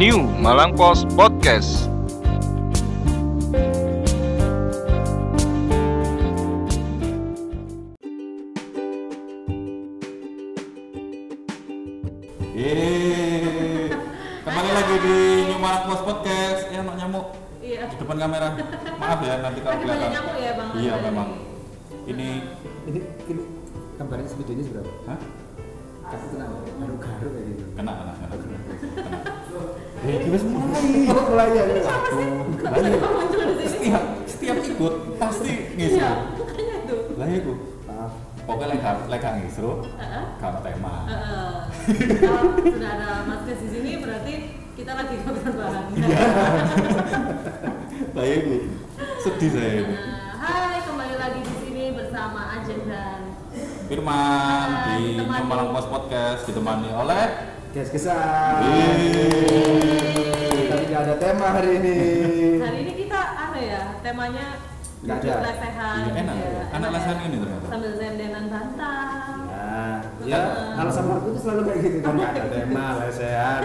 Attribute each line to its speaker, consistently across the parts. Speaker 1: New Malang Post Podcast.
Speaker 2: Yeay. Kembali lagi di New Marak Bos Podcast. Ya, anak nyamuk
Speaker 3: Iya.
Speaker 2: di depan kamera. Maaf ya, nanti kalau kelihatan.
Speaker 3: Lagi banyak nyamuk ya, Bang?
Speaker 2: Iya, memang. Ini
Speaker 4: Ini, ini gambarnya sebetulnya seberapa?
Speaker 2: Hah?
Speaker 4: Kamu tenang, garuk-garuk kayak gitu.
Speaker 2: kena kena kena. Iya,
Speaker 4: Eh, kita mulai. Oh, mulai ya. Satu.
Speaker 2: Lalu setiap setiap ikut pasti
Speaker 3: Iya,
Speaker 2: ngisru.
Speaker 3: makanya itu.
Speaker 2: Lah iku.
Speaker 4: Maaf.
Speaker 2: Pokoknya lek lek gak ngisru,
Speaker 3: Heeh.
Speaker 2: kalau tema.
Speaker 3: Heeh. Kalau sudah ada Mas Kes di sini berarti kita lagi ngobrol bahan.
Speaker 2: Iya. Lah iku. Sedih saya ini.
Speaker 3: Nah, Hai, kembali lagi di sini bersama Ajeng dan
Speaker 2: Firman
Speaker 3: Hai,
Speaker 2: di New
Speaker 3: ditemani.
Speaker 2: Malang Bos Podcast ditemani oleh Iya.
Speaker 4: Kes-kesan. Tapi nggak ada tema hari ini.
Speaker 3: hari ini kita ada ya temanya
Speaker 4: Nggak
Speaker 3: duduk
Speaker 4: ada.
Speaker 3: lesehan.
Speaker 2: Iya, enak. Anak lesehan ini ternyata.
Speaker 3: Sambil zendenan bantang.
Speaker 4: Nah,
Speaker 2: Iya.
Speaker 4: ya, kalau sama aku tuh selalu kayak gitu kan nggak ada tema, lesehan,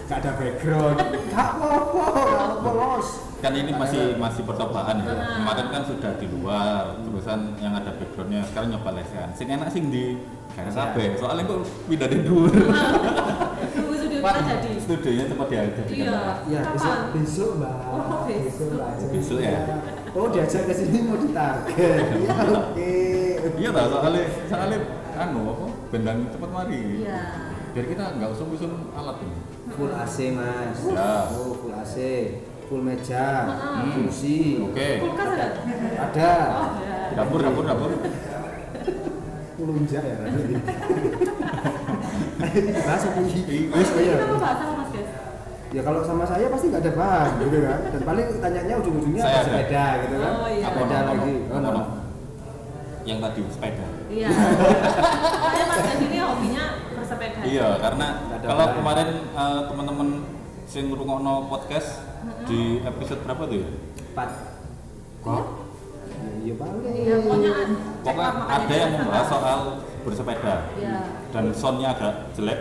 Speaker 4: nggak ada background. Nggak apa-apa, nggak apa-apa, los.
Speaker 2: kan ini masih masih percobaan ya
Speaker 3: Benar.
Speaker 2: kemarin kan sudah di luar terusan yang ada backgroundnya sekarang nyoba lesehan sing enak sing di karena kabeh soalnya kok pindah di dulu Iya.
Speaker 3: Tunggu studio kita jadi.
Speaker 2: studionya cepat kan. diajar
Speaker 3: Iya.
Speaker 4: Ya, besok,
Speaker 3: Kapan?
Speaker 4: besok mbak.
Speaker 3: Oh, besok.
Speaker 4: mbak.
Speaker 2: Besok ya?
Speaker 4: Oh, diajak ke sini mau ditarget. Ya, oke.
Speaker 2: iya tau soalnya soalnya anu apa bendang cepat mari
Speaker 3: Iya.
Speaker 2: biar kita nggak usum-usum alat ini
Speaker 4: Full AC mas.
Speaker 2: Ya.
Speaker 4: Oh, full AC, full meja,
Speaker 3: Maaf.
Speaker 4: kursi.
Speaker 2: oke
Speaker 3: Kulkas ada?
Speaker 4: Ada.
Speaker 3: Oh, ada.
Speaker 2: dapur dapur dapur
Speaker 3: Iya.
Speaker 4: Pelunjak ya. berarti. Ini bahas apa ini?
Speaker 2: Wis,
Speaker 4: Oh, iya.
Speaker 3: Kita mau bahas apa Mas Kes?
Speaker 4: Ya kalau sama saya pasti nggak ada bahas gitu kan. Dan paling tanyanya ujung-ujungnya
Speaker 2: Saya
Speaker 4: apa
Speaker 2: ada.
Speaker 4: sepeda gitu kan.
Speaker 3: Oh, iya.
Speaker 4: Sepeda
Speaker 2: Apa, apa,
Speaker 4: lagi.
Speaker 2: apa,
Speaker 4: Oh, no.
Speaker 2: apa. yang tadi sepeda
Speaker 3: Iya. Soalnya Mas Gas ini hobinya bersepeda.
Speaker 2: Iya, karena
Speaker 4: Nggak ada
Speaker 2: kalau
Speaker 4: lain.
Speaker 2: kemarin eh, teman-teman sing ngrungokno podcast di episode berapa tuh ya?
Speaker 4: Empat.
Speaker 2: Kok?
Speaker 4: Ya, Iya paling.
Speaker 3: Iya, pokoknya ad- cek
Speaker 2: Pokoknya
Speaker 3: lah makanya
Speaker 2: ada yang
Speaker 3: jangan
Speaker 2: membahas
Speaker 3: salah.
Speaker 2: soal bersepeda
Speaker 3: Iya.
Speaker 2: dan soundnya agak jelek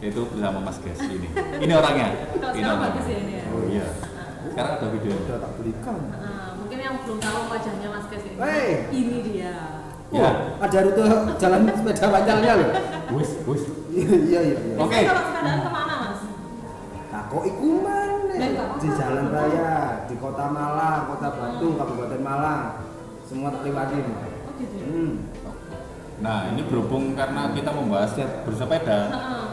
Speaker 2: itu bersama Mas Gas ini. Ini orangnya. Ini
Speaker 3: Kalau sekarang
Speaker 2: orangnya.
Speaker 3: bagus ya ini ya.
Speaker 2: Oh iya. Sekarang ada video.
Speaker 4: Udah tak belikan.
Speaker 3: Nah, mungkin yang belum tahu wajahnya Mas Kes ini.
Speaker 4: Wey.
Speaker 3: Ini dia.
Speaker 2: Ya.
Speaker 4: Oh, ada rute jalan sepeda panjangnya loh.
Speaker 2: Wis, wis.
Speaker 4: Iya iya iya. iya.
Speaker 2: Oke.
Speaker 3: Terus Kalau sepedaan kemana Mas?
Speaker 4: Nah, kok iku
Speaker 3: Lah,
Speaker 4: maneh
Speaker 3: nggak apa-apa.
Speaker 4: di jalan raya di kota Malang, kota Batu, Kabupaten Malang. Semua tak lewatin.
Speaker 3: Oh gitu. ya?
Speaker 4: Hmm.
Speaker 2: Nah, ini berhubung karena kita membahas bersepeda,
Speaker 3: Heeh.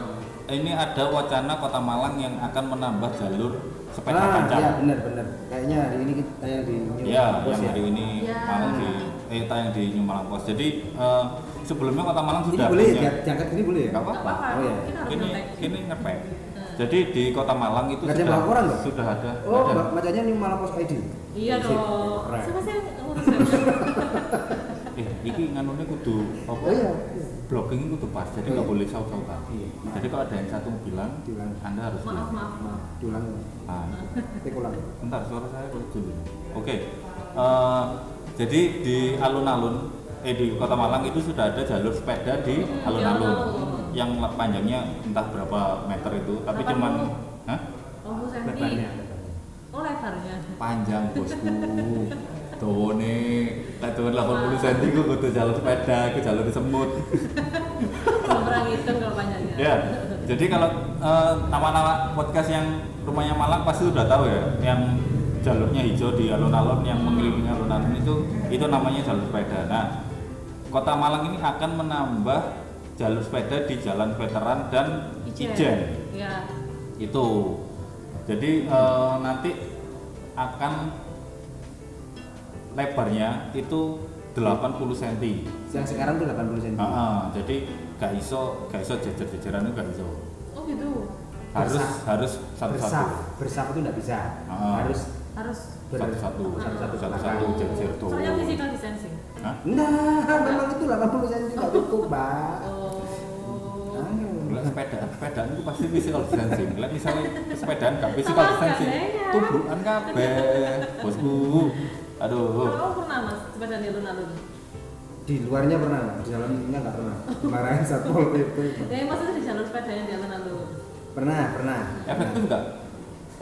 Speaker 2: ini ada wacana Kota Malang yang akan menambah jalur sepeda
Speaker 4: ah,
Speaker 2: panjang.
Speaker 4: ya benar benar. Kayaknya hari ini kita yang di New
Speaker 2: Ya,
Speaker 4: Campus
Speaker 2: yang hari ini
Speaker 3: Ya.
Speaker 2: malam di eh tayang di New Malang Post. Jadi eh, sebelumnya Kota Malang
Speaker 4: Ini
Speaker 2: sudah
Speaker 4: boleh
Speaker 2: punya-
Speaker 4: ya, diangkat ini boleh ya?
Speaker 2: Nggak
Speaker 3: Nggak
Speaker 2: apa-apa.
Speaker 3: apa-apa.
Speaker 4: Oh, iya.
Speaker 3: Kita harus
Speaker 2: Ini
Speaker 3: ngetek.
Speaker 2: ini ngepek.
Speaker 3: Nah.
Speaker 2: Jadi di Kota Malang itu
Speaker 4: Nggak ada
Speaker 2: sudah
Speaker 4: yang laporan, nggak?
Speaker 2: sudah ada.
Speaker 4: Oh,
Speaker 2: ada.
Speaker 4: mbak, bacanya New Malang Post ID.
Speaker 3: Iya
Speaker 4: Sip.
Speaker 3: dong.
Speaker 4: Keren.
Speaker 3: Siapa sih yang ngurus saya?
Speaker 2: Eh, iki nganune kudu apa?
Speaker 4: Oh iya. iya.
Speaker 2: Blocking kudu pas. Jadi
Speaker 4: Oh,
Speaker 2: nggak
Speaker 4: iya.
Speaker 2: boleh saut-sautan.
Speaker 4: Iya.
Speaker 2: Jadi kalau ada yang satu bilang,
Speaker 4: Bilang.
Speaker 2: Anda harus
Speaker 3: Maaf,
Speaker 2: bilang.
Speaker 3: maaf, maaf.
Speaker 4: Nah, diulang.
Speaker 2: Nah,
Speaker 4: Tik ulang.
Speaker 3: Iya.
Speaker 2: bentar suara saya kok dulu. Oke. Eh, jadi di alun-alun eh di Kota Malang itu sudah ada jalur sepeda di
Speaker 3: Hmm,
Speaker 2: alun-alun
Speaker 3: di alun-alun.
Speaker 2: yang panjangnya entah berapa meter itu, tapi
Speaker 3: Apa
Speaker 2: cuman
Speaker 3: dulu?
Speaker 2: Hah?
Speaker 3: Oh, Bu Santi.
Speaker 4: Lebarnya.
Speaker 3: Oh, lebarnya.
Speaker 2: panjang bosku. Dawane lek dawane 80 cm ku kudu jalur sepeda, ku jalur semut.
Speaker 3: Belum pernah ngitung kalau panjangnya.
Speaker 2: Ya. Jadi kalau eh, nama-nama podcast yang rumahnya Malang pasti sudah tahu ya, yang jalurnya hijau di alun-alun yang mengelilingi alun-alun itu itu namanya jalur sepeda. Nah, Kota Malang ini akan menambah jalur sepeda di Jalan Veteran dan
Speaker 3: Ijen.
Speaker 2: Ijen.
Speaker 3: Iya.
Speaker 2: itu jadi eh, nanti akan lebarnya itu 80 cm
Speaker 4: Yang sekarang tuh 80 cm.
Speaker 2: Ah, ah, jadi gak iso gak iso jejer-jejeran itu gak iso
Speaker 3: Oh gitu.
Speaker 2: harus
Speaker 4: Bersah.
Speaker 2: harus satu-satu
Speaker 4: Bersah, bersah itu nggak bisa.
Speaker 2: Ah.
Speaker 4: Harus
Speaker 3: Harus
Speaker 4: ber-
Speaker 2: Satu-satu.
Speaker 4: satu-satu
Speaker 2: Satu-satu.
Speaker 4: belakang.
Speaker 2: jejer tuh.
Speaker 3: Soalnya physical distancing.
Speaker 2: Hah?
Speaker 4: Nah, memang itu 80 cm nggak cukup, Mbak. Nah,
Speaker 3: Oh.
Speaker 2: Lek
Speaker 4: Ayo.
Speaker 2: sepedaan, sepedaan itu pasti physical distancing. Lek misalnya sepedaan gak physical
Speaker 3: Apa
Speaker 2: distancing,
Speaker 3: gandengnya?
Speaker 2: tubrukan kabeh, bosku. Aduh.
Speaker 3: Kalau pernah mas sepeda di alun-alun?
Speaker 4: Di luarnya pernah, Mbak. di dalamnya nggak pernah. Kemarin satpol pp.
Speaker 3: Ya maksudnya di jalur sepedanya di alun-alun.
Speaker 4: Pernah, pernah. Nah,
Speaker 2: efektif nggak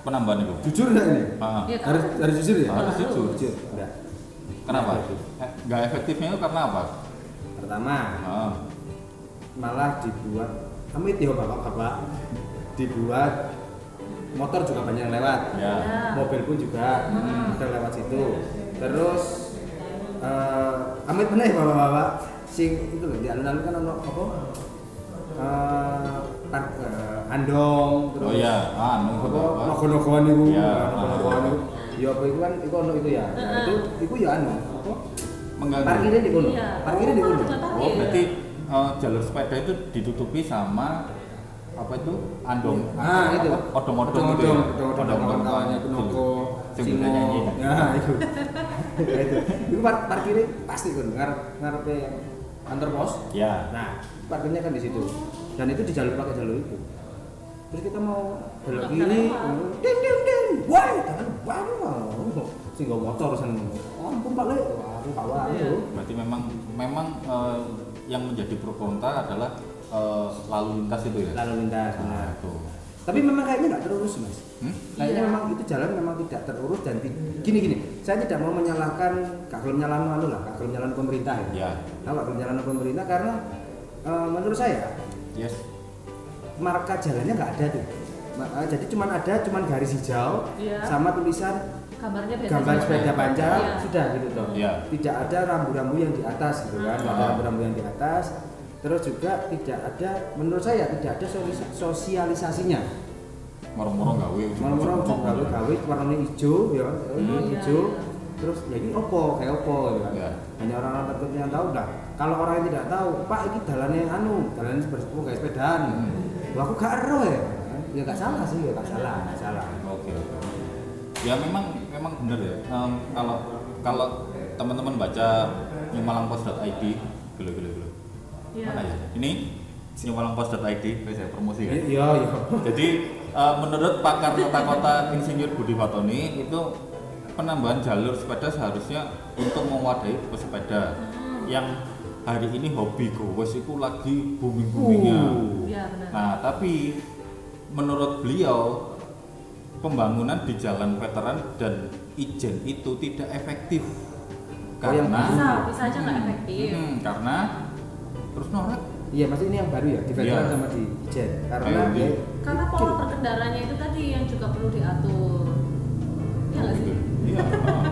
Speaker 2: penambahan itu?
Speaker 4: Jujur nggak ini?
Speaker 2: Ah,
Speaker 3: Iya.
Speaker 4: Harus harus jujur ya?
Speaker 2: Harus jujur.
Speaker 4: Jujur. Enggak.
Speaker 2: kenapa? Eh, Nggak efektifnya itu karena apa?
Speaker 4: Pertama,
Speaker 2: Ah,
Speaker 4: malah dibuat kami itu bapak-bapak dibuat motor juga banyak lewat.
Speaker 3: Iya.
Speaker 2: ya.
Speaker 4: mobil pun juga
Speaker 3: Hmm.
Speaker 4: ada lewat situ terus eh amit bener ya bapak-bapak sing itu loh di alun-alun kan ono apa Eh, park, eh, andong terus
Speaker 2: Oh ya, anu
Speaker 4: apa
Speaker 2: apa?
Speaker 4: nogo-nogoan itu
Speaker 2: Ya.
Speaker 4: nogo-nogoan itu ya apa itu kan itu ono itu ya nah, itu itu ya anu apa
Speaker 2: Mengganggu.
Speaker 4: parkirnya di kono
Speaker 3: Iya.
Speaker 4: parkirnya di kono
Speaker 3: Tempat
Speaker 2: Oh,
Speaker 3: parkir.
Speaker 2: berarti eh, jalur sepeda itu ditutupi sama apa itu andong
Speaker 4: Ah, itu.
Speaker 2: odong-odong gitu ya?
Speaker 4: odong-odong, odong-odong kawannya itu noko,
Speaker 2: Sing bisa nyanyi.
Speaker 4: Nah, itu. Nah, itu. Itu par parkirnya pasti kan ngarep ngarepe kantor pos.
Speaker 2: ya
Speaker 4: Nah, parkirnya kan di situ. Dan itu di jalur pakai jalur itu. Terus kita mau
Speaker 3: Belok
Speaker 4: belok kiri,
Speaker 3: kanan, Pak.
Speaker 4: ding ding ding, wah, kan wow, sing gak motor sen. Oh, ampun Pak Le, Wah, aku kawan.
Speaker 3: Iya.
Speaker 4: Iya.
Speaker 2: berarti memang memang eh, yang menjadi pro kontra adalah eh, lalu lintas itu ya
Speaker 4: Lalu lintas.
Speaker 2: nah
Speaker 4: Nah.
Speaker 2: itu
Speaker 4: Tapi memang kayaknya nggak terurus mas.
Speaker 2: Hmm?
Speaker 4: Kayaknya
Speaker 3: Iya.
Speaker 4: Nah, memang itu jalan memang tidak terurus dan ti- gini gini. Saya tidak mau menyalahkan kak Gelem nyalano anu lah, kak Gelem nyalano pemerintah ya.
Speaker 2: ya
Speaker 4: Nah, kak Gelem nyalano pemerintah karena eh, menurut saya
Speaker 2: yes
Speaker 4: marka jalannya nggak ada tuh. Ma- eh, jadi cuman ada cuman garis hijau
Speaker 3: Iya.
Speaker 4: sama tulisan
Speaker 3: Kabarnya beda.
Speaker 4: gambar
Speaker 3: sih.
Speaker 4: sepeda panjang
Speaker 3: Iya.
Speaker 4: sudah gitu toh.
Speaker 2: Iya.
Speaker 4: Tidak ada rambu-rambu yang di atas gitu kan, nggak ada
Speaker 2: Ah.
Speaker 4: rambu-rambu yang di atas. Terus juga tidak ada, menurut saya tidak ada solis- sosialisasinya.
Speaker 2: moro-moro gawe
Speaker 4: Malam-malam
Speaker 2: ujung-ujung.
Speaker 4: gawe gawe warnanya hijau ya, warna
Speaker 3: Hmm,
Speaker 4: hijau.
Speaker 3: iya, iya.
Speaker 4: Terus ya ini opo, kayak opo gitu kan.
Speaker 2: Iya.
Speaker 4: Hanya orang-orang tertentu yang tahu dah. Kalau orang yang tidak tahu, Pak ini jalannya anu, jalannya seperti itu kayak sepedaan. Wah, aku gak ero ya. Ya gak salah sih, ya gak salah, gak salah.
Speaker 2: Oke. Ya memang memang benar ya. Em, kalau kalau teman-teman baca newmalangpost.id, gelo gelo gelo.
Speaker 3: Iya.
Speaker 2: Mana ya? Ini newmalangpost.id, wes ya promosi ya.
Speaker 4: Iya, iya.
Speaker 2: Jadi eh, menurut pakar tata kota Insinyur Budi Fatoni itu penambahan jalur sepeda seharusnya untuk mewadahi pesepeda
Speaker 3: Hmm.
Speaker 2: yang hari ini hobi gowes itu lagi booming boomingnya.
Speaker 4: Uh.
Speaker 3: Iya benar.
Speaker 2: Nah, tapi menurut beliau pembangunan di jalan veteran dan ijen itu tidak efektif
Speaker 4: Oh, yang
Speaker 3: Bisa,
Speaker 2: karena
Speaker 3: bisa aja nggak efektif.
Speaker 2: Hmm, karena terus norak
Speaker 4: Iya, maksudnya ini yang baru ya, di veteran
Speaker 2: Iya.
Speaker 4: sama di Ijen. Karena
Speaker 2: Ayo,
Speaker 4: dia
Speaker 2: Bi.
Speaker 3: Karena pola perkendaranya itu tadi yang juga perlu diatur. Iya nggak sih?
Speaker 2: Iya. ah.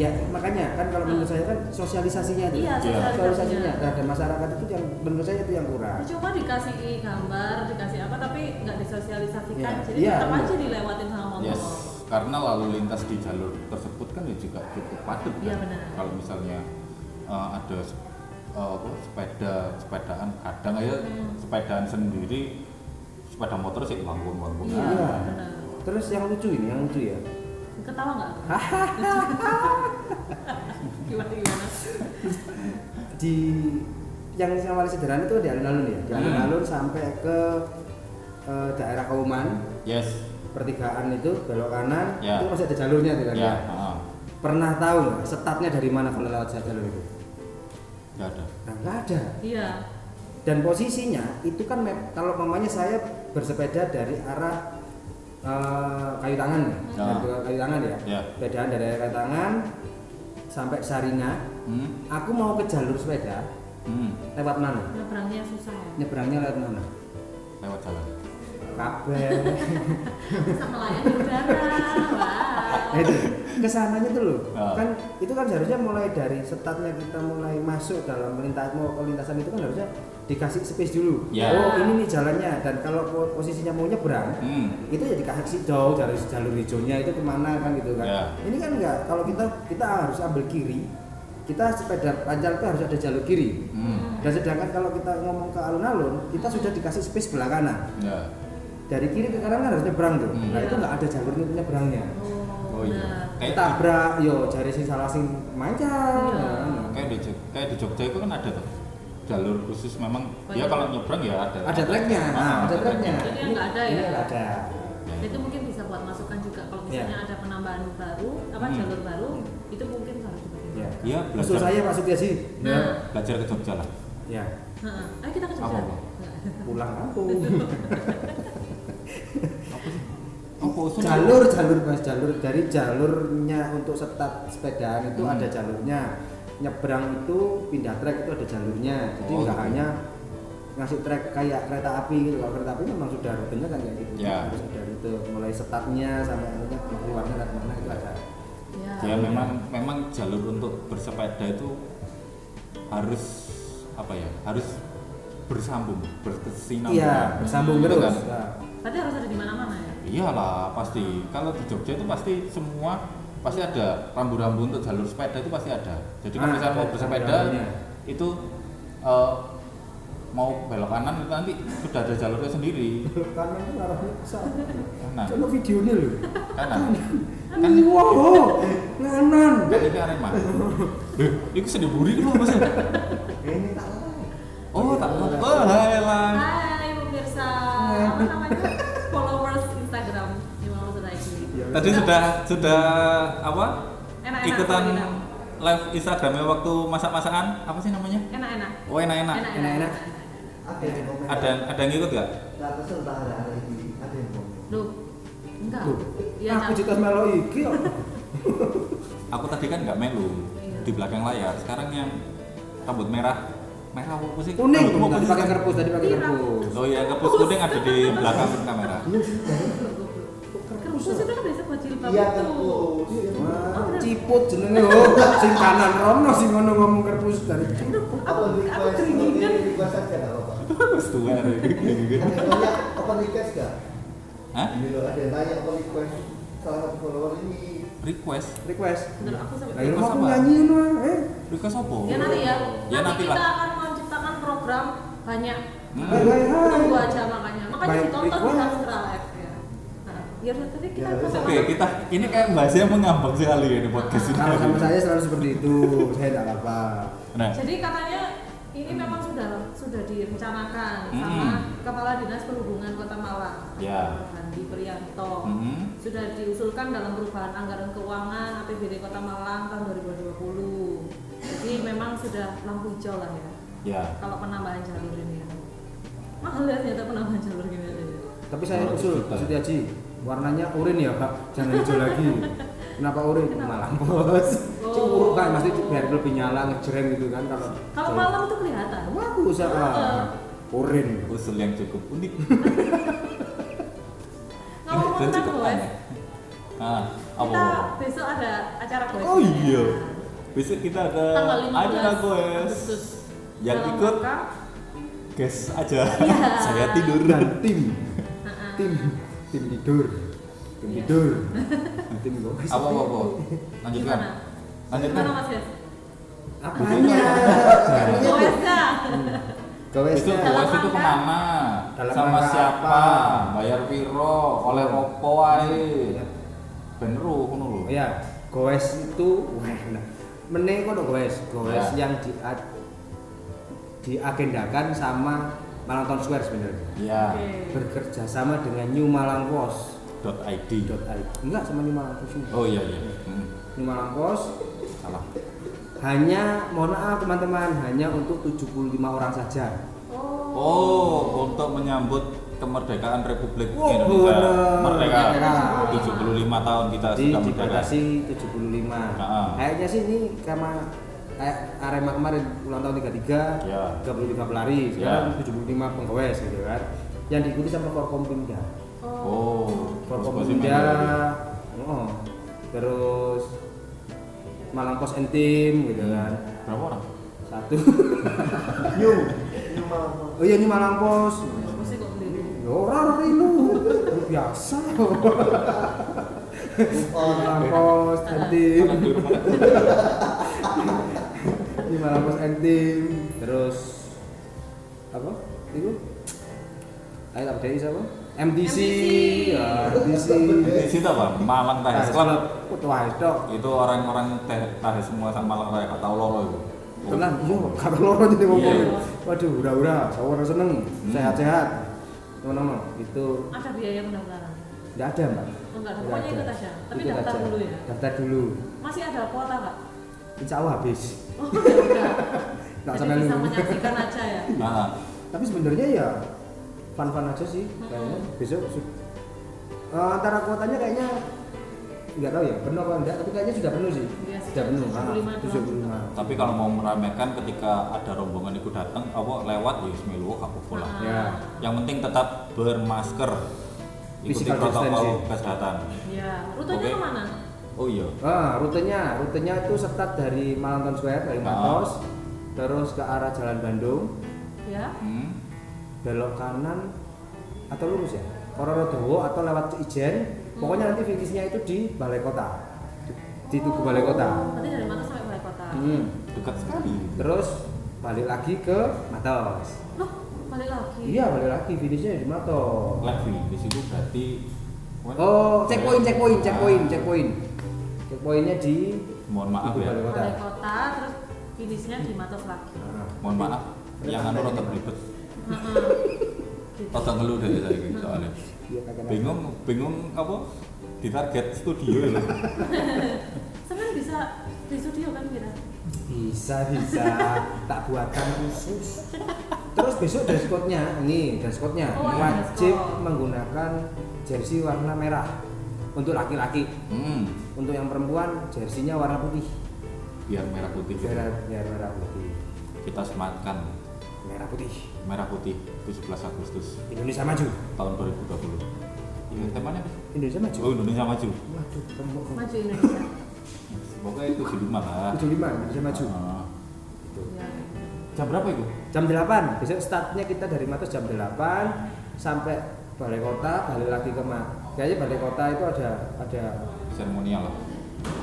Speaker 4: ya makanya kan kalau menurut saya kan sosialisasinya itu.
Speaker 3: Iya,
Speaker 2: Iya.
Speaker 4: sosialisasinya
Speaker 3: sosialisasinya.
Speaker 4: terhadap masyarakat itu yang menurut saya itu yang kurang.
Speaker 3: Cuma dikasih gambar, dikasih apa tapi nggak disosialisasikan.
Speaker 4: Iya.
Speaker 3: Jadi
Speaker 4: Iya,
Speaker 3: tetap
Speaker 4: benar.
Speaker 3: aja dilewatin sama motor.
Speaker 2: Yes,
Speaker 3: Oh.
Speaker 2: karena lalu lintas di jalur tersebut kan ya juga cukup padat
Speaker 3: Iya,
Speaker 2: kan.
Speaker 3: benar.
Speaker 2: Kalau misalnya eh, ada se- eh, apa, sepeda sepedaan kadang ya
Speaker 3: Hmm.
Speaker 2: sepedaan sendiri sepeda motor sih bangun bangun.
Speaker 3: Iya,
Speaker 4: Iya.
Speaker 3: benar.
Speaker 4: Terus yang lucu ini, yang lucu ya.
Speaker 3: Ketawa nggak? gimana gimana?
Speaker 4: di yang awal sederhana itu di alun-alun ya di
Speaker 2: Hmm.
Speaker 4: alun-alun sampai ke eh, daerah Kauman
Speaker 2: Yes,
Speaker 4: pertigaan itu belok kanan
Speaker 2: Ya.
Speaker 4: itu masih ada jalurnya tuh kan
Speaker 2: ya,
Speaker 4: ya.
Speaker 2: ah,
Speaker 4: pernah tahu nggak startnya dari mana kalau lewat jalur itu
Speaker 2: nggak Ya ada.
Speaker 4: nah, nggak ada
Speaker 3: Iya.
Speaker 4: dan posisinya itu kan mem- kalau mamanya saya bersepeda dari arah eh, kayu tangan
Speaker 2: Ya.
Speaker 4: Dari kayu tangan ya
Speaker 2: Ya.
Speaker 4: sepedaan dari arah kayu tangan sampai Sarina
Speaker 2: Hmm,
Speaker 4: aku mau ke jalur sepeda
Speaker 2: hmm,
Speaker 4: lewat mana
Speaker 3: Nyebrangnya susah ya.
Speaker 4: nyebrangnya lewat mana
Speaker 2: lewat jalan.
Speaker 4: kabel
Speaker 3: Bisa melayani udara.
Speaker 4: Nah,
Speaker 3: Wow.
Speaker 4: itu kesananya tuh loh
Speaker 2: Ah.
Speaker 4: kan itu kan seharusnya mulai dari startnya kita mulai masuk dalam lintas mau ke lintasan itu kan harusnya dikasih space dulu
Speaker 2: Ya.
Speaker 4: oh ini nih jalannya dan kalau po- posisinya mau nyebrang
Speaker 2: Hmm,
Speaker 4: itu ya dikasih jauh jalur jalur hijaunya itu kemana kan gitu kan
Speaker 2: Ya.
Speaker 4: ini kan enggak kalau kita kita harus ambil kiri kita sepeda panjang itu harus ada jalur kiri
Speaker 2: hmm,
Speaker 4: dan sedangkan kalau kita ngomong ke alun-alun kita sudah dikasih space sebelah kanan
Speaker 2: ya.
Speaker 4: dari kiri ke kanan kan harus nyebrang tuh
Speaker 2: Hmm.
Speaker 4: nah
Speaker 3: Ya.
Speaker 4: itu nggak ada jalur nyebrangnya
Speaker 2: Oh iya. Kayak
Speaker 4: tabrak yo jari sing salah sing Nah, manjang
Speaker 3: Iya.
Speaker 2: kayak di Jog- kayak di Jogja itu kan ada tuh jalur khusus memang dia
Speaker 3: Banyak.
Speaker 2: kalau nyebrang ya ada.
Speaker 4: ada treknya
Speaker 2: Ah,
Speaker 4: nah, ada treknya
Speaker 3: Jadi yang nggak ada ya?
Speaker 4: Ini nggak ada
Speaker 2: Ya.
Speaker 3: Nah, itu mungkin bisa buat masukan juga kalau misalnya ada penambahan baru apa
Speaker 2: Iya. Hmm.
Speaker 3: jalur baru itu mungkin harus
Speaker 4: ya
Speaker 3: dipertimbangkan.
Speaker 2: Iya,
Speaker 4: usul
Speaker 2: belajar.
Speaker 4: saya masuk ya sih
Speaker 3: Nah,
Speaker 2: Belajar ke Jogja lah.
Speaker 4: ya
Speaker 3: heeh. ayo kita ke
Speaker 2: Apa,
Speaker 3: Jogja. Iya.
Speaker 2: apa?
Speaker 3: Nggak.
Speaker 4: pulang kampung
Speaker 2: Apa
Speaker 3: Oh,
Speaker 2: usul?
Speaker 4: jalur jalur mas jalur dari jalurnya untuk setat sepedaan itu
Speaker 2: Hmm.
Speaker 4: ada jalurnya nyebrang itu pindah trek itu ada jalurnya jadi
Speaker 2: Oh,
Speaker 4: nggak
Speaker 2: gitu.
Speaker 4: hanya ngasih trek kayak kereta api gitu kalau kereta api memang sudah rutenya kan kayak gitu
Speaker 2: Ya.
Speaker 4: harus ada rute mulai setapnya sampai akhirnya keluarnya dari mana itu ada
Speaker 3: Ya.
Speaker 2: Ya memang memang jalur untuk bersepeda itu harus apa ya? Harus bersambung, berkesinambungan.
Speaker 4: iya bersambung
Speaker 2: Gitu
Speaker 4: terus
Speaker 2: kan?
Speaker 4: Nah,
Speaker 3: Berarti harus ada di mana-mana ya.
Speaker 2: Iyalah pasti. Kalau di Jogja itu pasti semua pasti ada rambu-rambu untuk jalur sepeda itu pasti ada. Jadi kalau
Speaker 4: Ah,
Speaker 2: misalnya mau
Speaker 4: ada
Speaker 2: bersepeda
Speaker 4: rambu-rambunya.
Speaker 2: itu eh, mau belok kanan itu nanti sudah ada jalurnya sendiri.
Speaker 4: karena itu kan arahnya ke sana
Speaker 2: Nah,
Speaker 4: coba videonya loh
Speaker 2: kanan.
Speaker 4: kan wow nganan
Speaker 2: Kan ini arema. Eh, itu sedih buri kan Mas.
Speaker 4: ini tak lain
Speaker 2: Oh, tak
Speaker 4: Iya,
Speaker 2: Oh, elang.
Speaker 3: Hai pemirsa, apa namanya? Followers Instagram Imam
Speaker 4: Ya,
Speaker 3: Suraiki.
Speaker 2: Tadi sudah sudah apa?
Speaker 3: Enak-enak,
Speaker 2: Ikutan
Speaker 3: enak-enak.
Speaker 2: live Instagramnya waktu masak-masakan apa sih namanya?
Speaker 3: Enak-enak.
Speaker 2: Oh enak-enak.
Speaker 4: Enak-enak.
Speaker 3: Enak-enak.
Speaker 5: ada yang komen
Speaker 2: Ada ada yang ikut nggak?
Speaker 5: ratusan tak ada hari ini ada yang komen
Speaker 3: Duh, enggak.
Speaker 4: Loh,
Speaker 3: Iya,
Speaker 4: aku
Speaker 3: Cak.
Speaker 4: cerita melo iki kok.
Speaker 2: Aku tadi kan nggak melu
Speaker 3: Iya.
Speaker 2: di belakang layar. Sekarang yang rambut merah, merah apa sih?
Speaker 4: Kuning,
Speaker 2: Rambutmu apa
Speaker 4: tadi
Speaker 2: sih?
Speaker 4: pakai kerpus, tadi pakai kerpus.
Speaker 2: Oh iya, kepus kuning ada di belakang kamera.
Speaker 3: Kerupuk itu kan biasa buat jilbab
Speaker 5: iya
Speaker 3: itu.
Speaker 5: terus
Speaker 3: Iya. Oh,
Speaker 4: Wah, ciput jenenge oh, sing kanan rono sing ngono ngomong kerpus dari
Speaker 3: Aduh, aku
Speaker 5: Apa
Speaker 3: aku
Speaker 5: request
Speaker 3: keringinan.
Speaker 5: Ini request aja nggak apa-apa
Speaker 2: Terus tua
Speaker 4: ya.
Speaker 2: ada yang-
Speaker 5: ada yang tanya open request nggak
Speaker 2: Hah?
Speaker 5: Ini loh, ada yang tanya open request salah satu follower ini
Speaker 2: Request?
Speaker 4: request.
Speaker 3: Bentar, aku sampai-
Speaker 4: Lah iya
Speaker 2: Request
Speaker 4: aku
Speaker 2: apa?
Speaker 4: nyanyi no eh.
Speaker 2: Request apa?
Speaker 3: Ya nanti ya.
Speaker 2: Ya
Speaker 3: Nanti
Speaker 2: nanti
Speaker 3: kita
Speaker 2: lah.
Speaker 3: akan menciptakan program banyak.
Speaker 2: Hmm.
Speaker 4: Hai
Speaker 5: Ya.
Speaker 4: hai hai.
Speaker 3: Tunggu aja makanya. Makanya
Speaker 4: Baik,
Speaker 3: ditonton
Speaker 4: baik,
Speaker 3: di
Speaker 4: baik.
Speaker 3: Astra Live ya. Nah, Ya udah, tapi kita
Speaker 5: Ya,
Speaker 3: kita
Speaker 2: Oke, kita ini kayak bahasanya mengambang sekali ya di podcast ini.
Speaker 4: Kalau Nah, sama saya selalu seperti itu, saya tidak apa.
Speaker 2: Nah,
Speaker 3: Jadi katanya ini memang sudah sudah direncanakan sama
Speaker 2: Mm.
Speaker 3: Kepala Dinas Perhubungan Kota Malang,
Speaker 2: Ya.
Speaker 3: Handi Prianto.
Speaker 2: mhm.
Speaker 3: Sudah diusulkan dalam perubahan anggaran keuangan APBD Kota Malang tahun 2020. Jadi memang sudah lampu hijau lah ya
Speaker 2: ya.
Speaker 3: kalau penambahan jalur ini. Mahal ya ternyata penambahan jalur gini aja.
Speaker 4: Tapi saya
Speaker 2: 100
Speaker 4: usul,
Speaker 2: juta.
Speaker 4: Siti Haji, warnanya oranye ya Pak, jangan hijau lagi. Kenapa oranye? Malam bos.
Speaker 3: Oh.
Speaker 4: Cemburu kan, pasti biar lebih nyala ngejreng gitu kan kalau.
Speaker 3: Kalau malam tuh kelihatan.
Speaker 4: Wah, aku usaha.
Speaker 3: Heeh.
Speaker 4: Oranye.
Speaker 2: usul yang cukup unik
Speaker 3: Ngomong
Speaker 2: dan
Speaker 3: tentang
Speaker 2: cukup
Speaker 3: goes,
Speaker 2: aneh. Ah, ya? apa?
Speaker 3: kita besok ada acara goes.
Speaker 2: Oh iya. Besok kita ada
Speaker 3: Tanggal 15
Speaker 2: acara goes.
Speaker 3: Agustus.
Speaker 2: Yang
Speaker 3: Dalam
Speaker 2: ikut
Speaker 3: rangka,
Speaker 2: guys aja.
Speaker 3: Iya.
Speaker 2: Saya tidur.
Speaker 4: dan tim
Speaker 3: uh-uh.
Speaker 4: tim tim tidur tim
Speaker 3: Iya.
Speaker 4: tidur tim gowes
Speaker 2: Apa apa apa? Lanjutkan.
Speaker 3: Gimana?
Speaker 2: Lanjutkan.
Speaker 3: Gimana Mas Yes?
Speaker 4: apanya
Speaker 3: Goesnya.
Speaker 4: gowesnya
Speaker 2: Besok
Speaker 3: Dalam
Speaker 2: goes itu
Speaker 3: rangka-
Speaker 2: kemana?
Speaker 4: Dalam
Speaker 2: Sama
Speaker 4: rangka
Speaker 2: siapa?
Speaker 4: apa?
Speaker 2: Bayar piro? Oleh opo ae?
Speaker 4: Iya.
Speaker 2: Bener ngono lho.
Speaker 4: oh ya gowes itu wah nah meneh kono gowes gowes
Speaker 2: Ya.
Speaker 4: yang di diagendakan sama Malang Town Square sebenarnya
Speaker 2: Iya.
Speaker 3: Oke.
Speaker 4: bekerja sama dengan New Malang Pos
Speaker 2: Dot .id.
Speaker 4: dot I. enggak sama New Malang Pos
Speaker 2: Oh iya iya. Hmm,
Speaker 4: New Malang Pos
Speaker 2: Salah.
Speaker 4: hanya mohon maaf teman-teman hanya untuk 75 orang saja
Speaker 3: Oh.
Speaker 2: Oh, untuk menyambut kemerdekaan Republik
Speaker 4: Wah,
Speaker 2: Indonesia.
Speaker 4: bener.
Speaker 2: Merdeka.
Speaker 4: Merdeka.
Speaker 2: 75 tahun kita
Speaker 4: Jadi
Speaker 2: sudah merdeka.
Speaker 4: dibatasi 75.
Speaker 2: Heeh.
Speaker 4: Kayaknya sih ini karena kayak Arema kemarin ulang tahun 33,
Speaker 2: Ya.
Speaker 4: 33 pelari,
Speaker 2: Iya.
Speaker 4: sekarang 75 penggowes gitu kan. Yang diikuti sama Forkompimda.
Speaker 2: Oh, Pos-posin
Speaker 4: Forkompimda. Oh. Terus Malang Pos and Team gitu
Speaker 2: Hmm.
Speaker 4: kan.
Speaker 2: Berapa orang?
Speaker 4: Satu.
Speaker 5: new new malam
Speaker 4: oh iya ini Malang Ya, Pos.
Speaker 3: Aku sih kok beli.
Speaker 4: Orang rindu biasa.
Speaker 5: move on
Speaker 4: Malang Pos and Team.
Speaker 2: Orang di rumah.
Speaker 4: di malam pas ending terus apa itu ayo tak bedai siapa MDC
Speaker 3: MDC.
Speaker 4: ya MDC
Speaker 2: Di situ apa? Malang Tahes
Speaker 4: Nah,
Speaker 2: Club.
Speaker 4: klub. wah itu
Speaker 2: Itu orang-orang teh Tahes semua sama Malang Raya, gak tahu loro itu.
Speaker 4: tenang iya kata loro jadi ngomong
Speaker 2: Iya.
Speaker 4: waduh hura-hura orang seneng sehat-sehat teman-teman itu
Speaker 3: Ada biaya pendaftaran.
Speaker 4: tidak ada mbak
Speaker 3: Oh, enggak ada.
Speaker 4: Nggak
Speaker 3: Pokoknya ikut aja. Tapi
Speaker 4: Ikut
Speaker 3: daftar
Speaker 4: aja.
Speaker 3: dulu ya.
Speaker 4: daftar dulu
Speaker 3: Masih ada kuota nggak?
Speaker 4: insya Allah habis
Speaker 3: Oh, ya udah.
Speaker 4: Nggak
Speaker 3: Jadi
Speaker 4: sampai
Speaker 3: bisa
Speaker 4: nunggu.
Speaker 3: menyaksikan aja ya.
Speaker 2: Nah,
Speaker 4: tapi sebenarnya ya fun-fun aja sih
Speaker 3: Mm-mm.
Speaker 4: kayaknya besok su- eh, antara kuotanya kayaknya nggak tahu ya penuh apa enggak tapi kayaknya sudah penuh sih
Speaker 3: Iya sih,
Speaker 4: sudah penuh ah,
Speaker 3: 75
Speaker 4: 75
Speaker 2: Tapi kalau mau meramaikan ketika ada rombongan itu datang, apa lewat ya semilu aku pulang.
Speaker 3: Ah,
Speaker 4: Ya.
Speaker 2: Yang penting tetap bermasker, ikuti
Speaker 4: Physical
Speaker 2: protokol
Speaker 4: distancing.
Speaker 2: kesehatan.
Speaker 3: ya rutenya
Speaker 2: Oke.
Speaker 3: kemana
Speaker 2: Oh iya,
Speaker 4: ah rutenya rutenya itu start dari Malanton Square dari
Speaker 2: Ah.
Speaker 4: Matos terus ke arah Jalan Bandung
Speaker 3: ya
Speaker 2: hmm.
Speaker 4: belok kanan atau lurus ya Kororodowo atau lewat Ijen pokoknya nanti finishnya itu di Balai Kota di, di
Speaker 3: Oh.
Speaker 4: Tugu Balai Kota
Speaker 3: nanti dari mana sampai balai kota
Speaker 4: Hmm.
Speaker 2: dekat sekali.
Speaker 4: terus balik lagi ke Matos
Speaker 3: loh balik lagi
Speaker 4: iya balik lagi finishnya di Matos
Speaker 2: Levi di situ berarti.
Speaker 4: Oh, checkpoint, checkpoint,
Speaker 2: Ah,
Speaker 4: checkpoint, checkpoint. Checkpointnya di
Speaker 2: Mohon maaf
Speaker 4: Ibu
Speaker 2: ya,
Speaker 4: Balai Kota.
Speaker 3: balai kota terus finishnya di matos lagi
Speaker 4: Nah,
Speaker 2: mohon maaf. Yang anu rada belibet,
Speaker 4: Hmm.
Speaker 3: Heeh. gitu.
Speaker 2: rada ngeluh dari saya ini soalnya.
Speaker 4: iya, kagak ada.
Speaker 2: Bingung, bingung apa? Di target studio ya.
Speaker 3: sebenarnya bisa di studio kan kita
Speaker 4: Hmm. Bisa, bisa. tak buatkan khusus. Terus besok dress code-nya, ini dress code-nya
Speaker 3: Oh, ada
Speaker 4: wajib
Speaker 3: dress code.
Speaker 4: menggunakan jersey warna merah untuk laki-laki.
Speaker 2: Hmm,
Speaker 4: Untuk yang perempuan jersinya warna putih.
Speaker 2: biar merah putih. gitu.
Speaker 4: Merah, biar merah putih.
Speaker 2: Kita sematkan
Speaker 4: Merah putih.
Speaker 2: merah putih 17 Agustus
Speaker 4: Indonesia maju.
Speaker 2: tahun 2020. Iya, temanya apa? sih?
Speaker 4: Indonesia maju.
Speaker 2: Oh, Indonesia maju.
Speaker 4: Waduh, remuk.
Speaker 3: maju Indonesia
Speaker 2: Pokoknya itu di rumah lah.
Speaker 4: 75 Indonesia maju.
Speaker 2: Ah.
Speaker 3: ya.
Speaker 2: Jam berapa itu?
Speaker 4: jam 8 besok startnya kita dari Matos jam 8 sampai balai kota balik lagi ke Ma kayaknya balai kota itu ada ada
Speaker 2: Seremonial lah.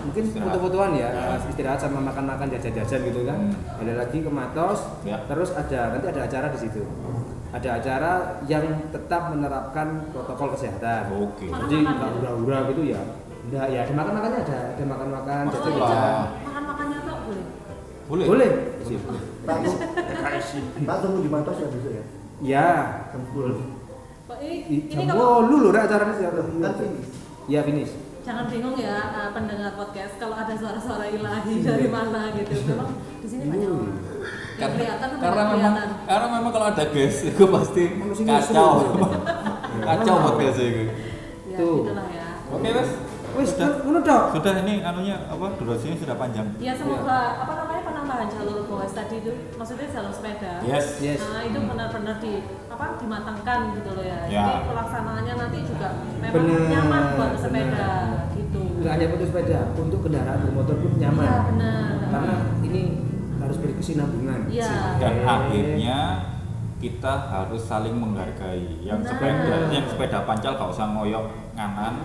Speaker 4: mungkin
Speaker 2: Istirahat.
Speaker 4: foto-fotoan ya
Speaker 2: Ya.
Speaker 4: istirahat sama makan-makan jajan-jajan gitu kan
Speaker 2: Hmm.
Speaker 4: balik lagi ke Matos
Speaker 2: Ya.
Speaker 4: terus ada nanti ada acara di situ ada acara yang tetap menerapkan protokol kesehatan
Speaker 2: Oke.
Speaker 3: Makan-makan
Speaker 4: jadi
Speaker 3: ya?
Speaker 4: nggak hura-hura gitu ya enggak ya ada makan-makannya ada ada makan-makan
Speaker 2: Makan
Speaker 3: oh,
Speaker 2: Betul
Speaker 3: iya.
Speaker 4: jajan-jajan
Speaker 2: lah.
Speaker 3: makan makannya tuh boleh
Speaker 2: Boleh.
Speaker 4: boleh
Speaker 2: Boleh. boleh.
Speaker 5: Pak Pak tunggu di Matos ya besok ya
Speaker 4: ya
Speaker 5: jam 10
Speaker 3: Pak, ini, ini
Speaker 4: Jam
Speaker 3: kalau
Speaker 4: oh, lu lho acaranya siapa?
Speaker 5: Kan finish.
Speaker 4: Ya finish.
Speaker 3: jangan bingung ya eh, pendengar podcast kalau ada suara-suara ilahi
Speaker 4: Iya.
Speaker 3: dari mana gitu memang di sini banyak
Speaker 4: Hmm.
Speaker 3: orang yang
Speaker 2: Kar-
Speaker 3: kelihatan apa
Speaker 2: karena
Speaker 3: nggak
Speaker 2: memang
Speaker 3: kelihatan
Speaker 2: karena memang kalau ada guys itu pasti
Speaker 4: Manusia
Speaker 2: kacau.
Speaker 4: nyusul.
Speaker 2: kacau buat guys itu.
Speaker 3: ya
Speaker 4: Tuh.
Speaker 3: gitulah ya
Speaker 2: Oke, Mas.
Speaker 4: Wis,
Speaker 2: Sudah.
Speaker 4: ngono tok.
Speaker 2: Sudah ini anunya apa durasinya sudah panjang.
Speaker 3: ya semoga
Speaker 4: Iya.
Speaker 3: apa namanya penambahan jalur goes tadi itu maksudnya jalur sepeda
Speaker 2: Yes.
Speaker 4: Yes.
Speaker 3: Nah, itu benar-benar di apa dimatangkan gitu loh ya.
Speaker 2: Ya.
Speaker 3: Jadi pelaksanaannya nanti juga memang
Speaker 4: Benar,
Speaker 3: nyaman buat sepeda
Speaker 4: benar.
Speaker 3: gitu.
Speaker 4: Enggak hanya untuk sepeda, untuk kendaraan bermotor pun
Speaker 3: Iya,
Speaker 4: nyaman.
Speaker 3: benar.
Speaker 4: Karena ini harus berkesinambungan.
Speaker 3: Iya.
Speaker 2: dan akhirnya kita harus saling menghargai yang
Speaker 3: Nah.
Speaker 2: sepeda yang sepeda pancal gak usah ngoyok nganan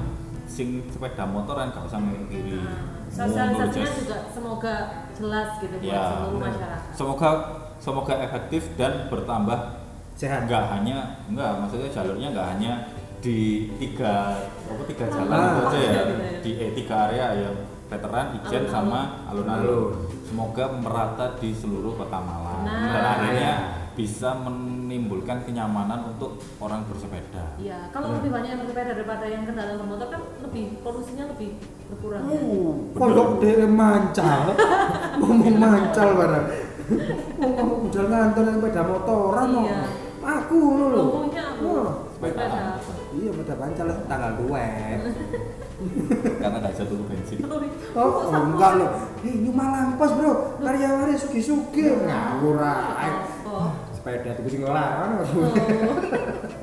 Speaker 2: sing sepeda motoran gak usah ngoyok kiri
Speaker 3: Nah,
Speaker 2: Mundur,
Speaker 3: sosialisasinya
Speaker 2: just-
Speaker 3: juga semoga jelas gitu buat
Speaker 2: Ya,
Speaker 3: seluruh
Speaker 4: benar.
Speaker 3: masyarakat.
Speaker 2: semoga semoga efektif dan bertambah Eh,
Speaker 4: Sehat.
Speaker 2: nggak hanya nggak maksudnya jalurnya nggak hanya di tiga apa tiga jalan
Speaker 4: Ah.
Speaker 2: itu aja ya
Speaker 3: Gitu ya.
Speaker 2: di eh, tiga area ya veteran ijen
Speaker 3: Alun-alun.
Speaker 2: sama
Speaker 4: Alun.
Speaker 2: alun-alun semoga merata di seluruh kota Malang
Speaker 3: Nah.
Speaker 2: dan akhirnya bisa menimbulkan kenyamanan untuk orang bersepeda
Speaker 3: Iya, kalau lebih banyak yang bersepeda daripada yang kendaraan bermotor kan lebih polusinya lebih berkurang. ya.
Speaker 4: Pondok dhewe mancal. Ngomong mancal barang. Ngomong udah ngantor yang sepeda motoran no.
Speaker 3: Iya.
Speaker 4: Aku ngono lho.
Speaker 3: Ngomongnya aku.
Speaker 4: Wah,
Speaker 2: Sepeda.
Speaker 3: Sepeda.
Speaker 4: Iya, sepeda pancal lah, tanggal duet.
Speaker 2: karena nggak bisa tutup bensin
Speaker 4: Oh, oh, enggak lho. Hei, ini malang pas, Bro. Karyawari sugi-sugi ngawur ae.
Speaker 3: Oh.
Speaker 4: Sepeda tuku sing larang.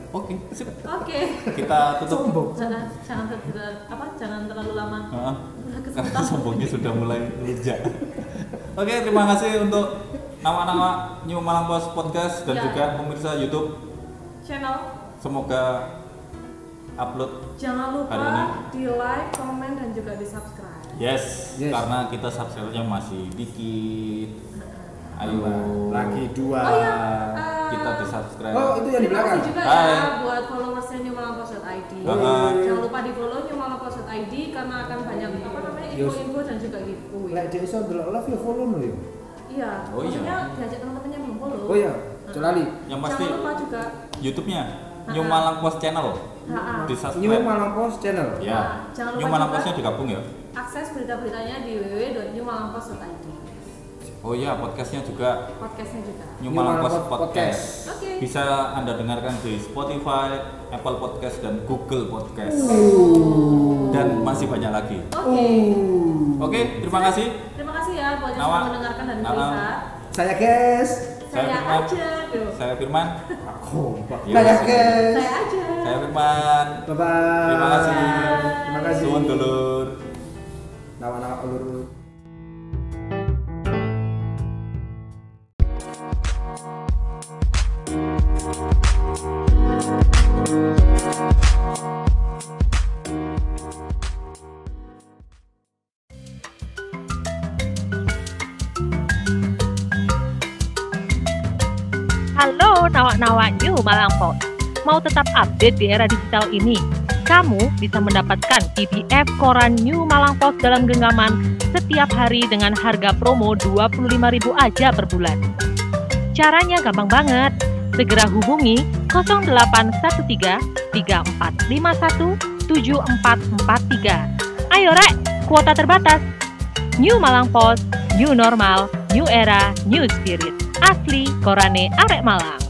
Speaker 2: oke sip.
Speaker 3: Oke.
Speaker 2: kita tutup
Speaker 4: Sombong.
Speaker 3: Jangan jangan ter- apa jangan terlalu lama.
Speaker 2: Heeh.
Speaker 3: Udah
Speaker 2: karena
Speaker 3: kesemutan.
Speaker 2: sombongnya sudah mulai rujak oke terima kasih untuk nama-nama New Malang Post Podcast dan
Speaker 3: Ya.
Speaker 2: juga pemirsa YouTube
Speaker 3: Channel
Speaker 2: Semoga upload
Speaker 3: Jangan
Speaker 2: Hari ini.
Speaker 3: lupa di like, komen, dan juga di subscribe.
Speaker 2: yes,
Speaker 4: Yes.
Speaker 2: karena kita subscribe-nya masih dikit. Ayo
Speaker 4: Lagi dua.
Speaker 3: Oh ya, eh,
Speaker 2: Ah, kita di subscribe.
Speaker 4: Oh, itu yang di
Speaker 3: terima
Speaker 4: belakang.
Speaker 3: kasih juga
Speaker 2: Hai.
Speaker 3: ya buat followersnya New Malang Post ID.
Speaker 2: Heeh.
Speaker 3: Jangan lupa di follow New Malang Post ID karena akan banyak apa namanya info-info dan juga giveaway.
Speaker 4: Lek dek iso ndelok live ya follow no ya.
Speaker 3: Iya,
Speaker 2: Oh iya.
Speaker 3: maksudnya diajak teman-temannya belum follow.
Speaker 4: Oh ya,
Speaker 3: Nah,
Speaker 4: celali.
Speaker 2: Yang pasti
Speaker 3: Jangan lupa juga.
Speaker 2: YouTube-nya New
Speaker 3: Ha-ha.
Speaker 2: Malang Post Channel.
Speaker 3: Ha-ha.
Speaker 2: Di
Speaker 4: New
Speaker 2: subscribe.
Speaker 4: Malang Post Channel.
Speaker 2: Ya.
Speaker 3: Jangan lupa
Speaker 2: New Malang
Speaker 3: juga.
Speaker 2: Post-nya digabung ya.
Speaker 3: Akses berita-beritanya di www.newmalangpost.id.
Speaker 2: Oh iya, podcastnya juga
Speaker 3: Podcastnya juga.
Speaker 2: New Malang Post Podcast.
Speaker 3: Oke,
Speaker 2: bisa Anda dengarkan di Spotify, Apple Podcast dan Google Podcast. Dan masih banyak lagi.
Speaker 3: Oke.
Speaker 4: Oh.
Speaker 2: Oke, terima kasih.
Speaker 3: Terima kasih ya buat yang
Speaker 2: Nawa.
Speaker 3: sudah mendengarkan dan
Speaker 2: Nawa.
Speaker 3: melihat.
Speaker 4: Saya guys.
Speaker 3: Saya
Speaker 2: Firman.
Speaker 3: aja, Duh.
Speaker 2: Saya Firman.
Speaker 4: Kompak.
Speaker 2: Iya.
Speaker 4: Saya guys.
Speaker 3: Saya aja.
Speaker 2: Saya Firman.
Speaker 4: Bye bye.
Speaker 2: Terima kasih.
Speaker 4: Terima kasih.
Speaker 2: Suwun dulur.
Speaker 4: Nawa-nawa peluru.
Speaker 6: Halo nawak-nawak New Malang Post. Mau tetap update di era digital ini? Kamu bisa mendapatkan PDF koran New Malang Post dalam genggaman setiap hari dengan harga promo 25.000 aja per bulan. Caranya gampang banget. Segera hubungi 0813 3451 7443. Ayo rek, kuota terbatas. New Malang Post, new normal, new era, new spirit. Asli Korane Arek Malang.